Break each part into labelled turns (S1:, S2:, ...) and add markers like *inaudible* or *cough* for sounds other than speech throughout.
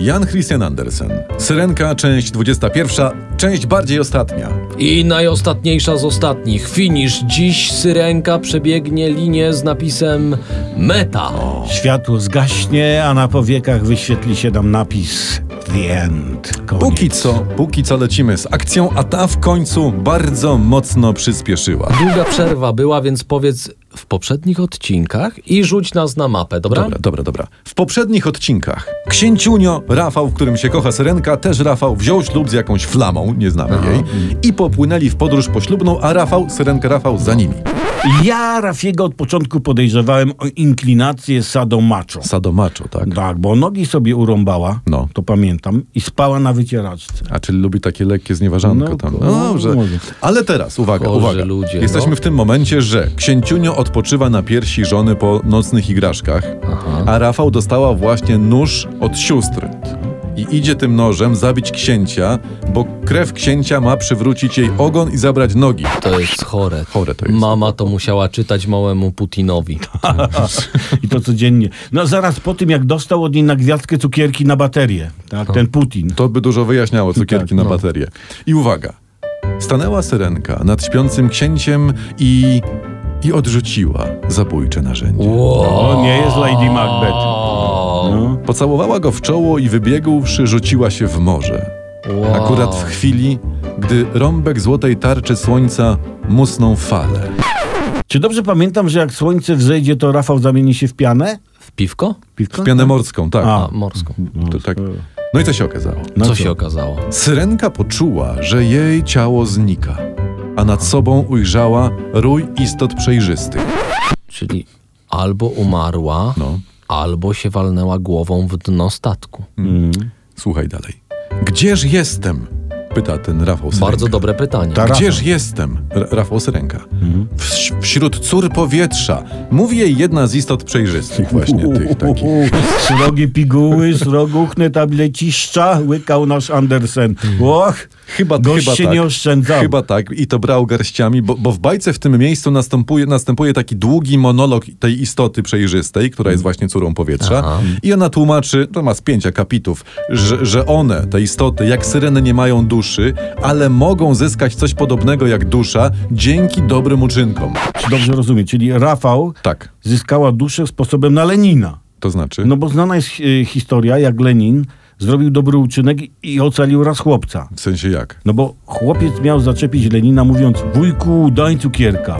S1: Jan Christian Andersen. Syrenka, część 21, część bardziej ostatnia.
S2: I najostatniejsza z ostatnich. Finisz. Dziś Syrenka przebiegnie linię z napisem Meta.
S3: Światło zgaśnie, a na powiekach wyświetli się nam napis The End. Koniec.
S1: Póki co, póki co lecimy z akcją, a ta w końcu bardzo mocno przyspieszyła.
S2: Długa przerwa była, więc powiedz w poprzednich odcinkach i rzuć nas na mapę, dobra?
S1: Dobra, dobra, dobra. W poprzednich odcinkach Księciunio, Rafał, w którym się kocha Syrenka, też Rafał wziął ślub z jakąś flamą, nie znamy jej, i popłynęli w podróż poślubną, a Rafał, Syrenka Rafał za nimi.
S3: Ja Rafiego od początku podejrzewałem o inklinację sadomacho.
S1: Sadomacho, tak?
S3: Tak, bo nogi sobie urąbała,
S1: No.
S3: to pamiętam, i spała na wycieraczce.
S1: A czyli lubi takie lekkie znieważanko
S3: No,
S1: tam.
S3: ko-
S1: No dobrze.
S3: może.
S1: Ale teraz, uwaga,
S2: Chorzy
S1: uwaga.
S2: ludzie,
S1: Jesteśmy
S2: no.
S1: w tym momencie, że księciunio odpoczywa na piersi żony po nocnych igraszkach, a Rafał dostała właśnie nóż od sióstr. I idzie tym nożem zabić księcia, bo krew księcia ma przywrócić jej ogon i zabrać nogi.
S2: To jest chore.
S1: Chore to jest.
S2: Mama to musiała czytać małemu Putinowi.
S3: I to codziennie. No zaraz po tym, jak dostał od niej na gwiazdkę cukierki na baterię, tak, ten Putin.
S1: To by dużo wyjaśniało cukierki
S3: Tak,
S1: na
S3: no.
S1: baterię. I uwaga. Stanęła syrenka nad śpiącym księciem i... i odrzuciła zabójcze narzędzie.
S3: O, nie jest Lady Macbeth. No.
S1: Pocałowała go w czoło i wybiegłszy rzuciła się w morze.
S2: Wow.
S1: Akurat w chwili, gdy rąbek złotej tarczy słońca musnął fale.
S3: Czy dobrze pamiętam, że jak słońce wzejdzie, to Rafał zamieni się w pianę?
S2: W piwko?
S3: Piwko?
S1: W pianę morską, tak.
S3: A.
S2: A, morską.
S1: To tak. No i co się okazało?
S3: No
S2: co
S3: co?
S2: się okazało?
S1: Syrenka poczuła, że jej ciało znika, a nad sobą ujrzała rój istot przejrzystych.
S2: Czyli albo umarła,
S1: No.
S2: albo się walnęła głową w dno statku.
S1: Tak. Słuchaj dalej. Gdzież jestem? Pyta ten Rafał Syrenka.
S2: Bardzo dobre pytanie.
S3: Ta-
S1: Gdzież
S3: Rafał.
S1: jestem? R- Rafał Syrenka. Wś- wśród cór powietrza. Mówi jej jedna z istot przejrzystych, właśnie tych takich.
S3: Srogie piguły, sroguchne tableciszcza, łykał nasz Andersen. Och,
S1: Hmm. Chyba,
S3: gość
S1: chyba
S3: się
S1: tak.
S3: nie oszczędzał.
S1: Chyba tak i to brał garściami, bo, bo w bajce w tym miejscu następuje, następuje taki długi monolog tej istoty przejrzystej, która jest właśnie córą powietrza i ona tłumaczy, to ma z pięć akapitów, że, że one, te istoty, jak syreny nie mają duszy, ale mogą zyskać coś podobnego jak dusza dzięki dobrym uczynkom.
S3: Czy Dobrze rozumiem, czyli Rafał
S1: Tak,
S3: zyskała duszę sposobem na Lenina.
S1: to znaczy...
S3: No bo znana jest e, historia, jak Lenin zrobił dobry uczynek i- i ocalił raz chłopca.
S1: W sensie jak?
S3: No bo chłopiec miał zaczepić Lenina mówiąc wujku, daj cukierka.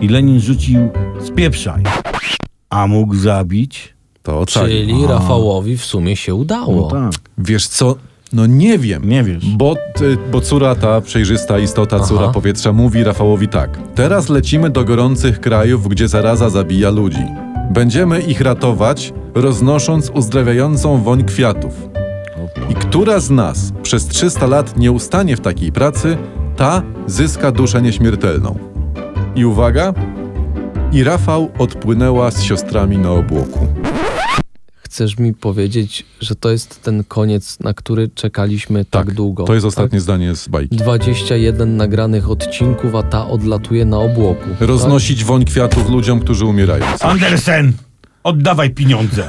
S3: I Lenin rzucił spieprzaj. A mógł zabić?
S1: To ocali.
S2: Czyli Rafałowi w sumie się udało.
S3: No tak.
S1: Wiesz co? No nie wiem.
S3: Nie wiesz.
S1: Bo, ty, bo córa ta, przejrzysta istota, córa powietrza mówi Rafałowi tak. Teraz lecimy do gorących krajów, gdzie zaraza zabija ludzi. Będziemy ich ratować, roznosząc uzdrawiającą woń kwiatów. I która z nas przez 300 lat nie ustanie w takiej pracy, ta zyska duszę nieśmiertelną. I uwaga, i Rafał odpłynęła z siostrami na obłoku.
S2: Chcesz mi powiedzieć, że to jest ten koniec, na który czekaliśmy tak, długo?
S1: To jest ostatnie zdanie z bajki.
S2: Tak? 21 nagranych odcinków, a ta odlatuje na obłoku.
S1: Roznosić woń kwiatów ludziom, którzy umierają.
S3: Andersen, oddawaj
S2: *laughs*
S3: pieniądze.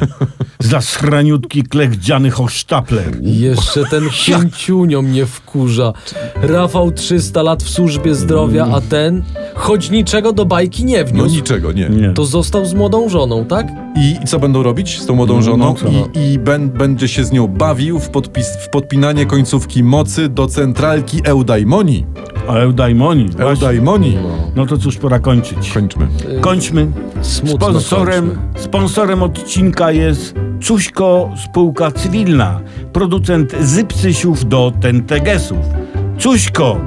S3: Za schraniutki klechdziany hochsztapler.
S2: Tak? Jeszcze ten księciunio mnie wkurza. Rafał 300 lat w służbie zdrowia, a ten choć niczego do bajki nie
S1: No
S2: wniósł.
S1: niczego, nie.
S3: Nie.
S2: To został z młodą żoną, tak?
S1: I i co będą robić z tą młodą żoną?
S3: No, co?
S1: I, i ben, będzie się z nią bawił w, podpis, w podpinanie końcówki mocy do centralki Eudaimoni.
S3: A Eudaimoni. właśnie.
S1: Eudaimoni.
S3: No to cóż, pora kończyć.
S1: Kończmy.
S3: Kończmy.
S2: Smutno
S3: Sponsorem,
S2: kończmy.
S3: sponsorem odcinka jest Cuśko Spółka Cywilna, producent zypcysiów do tentegesów. Cuśko,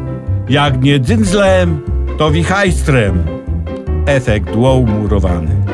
S3: jak nie dzyndzlem, to wichajstrem. Efekt wow murowany.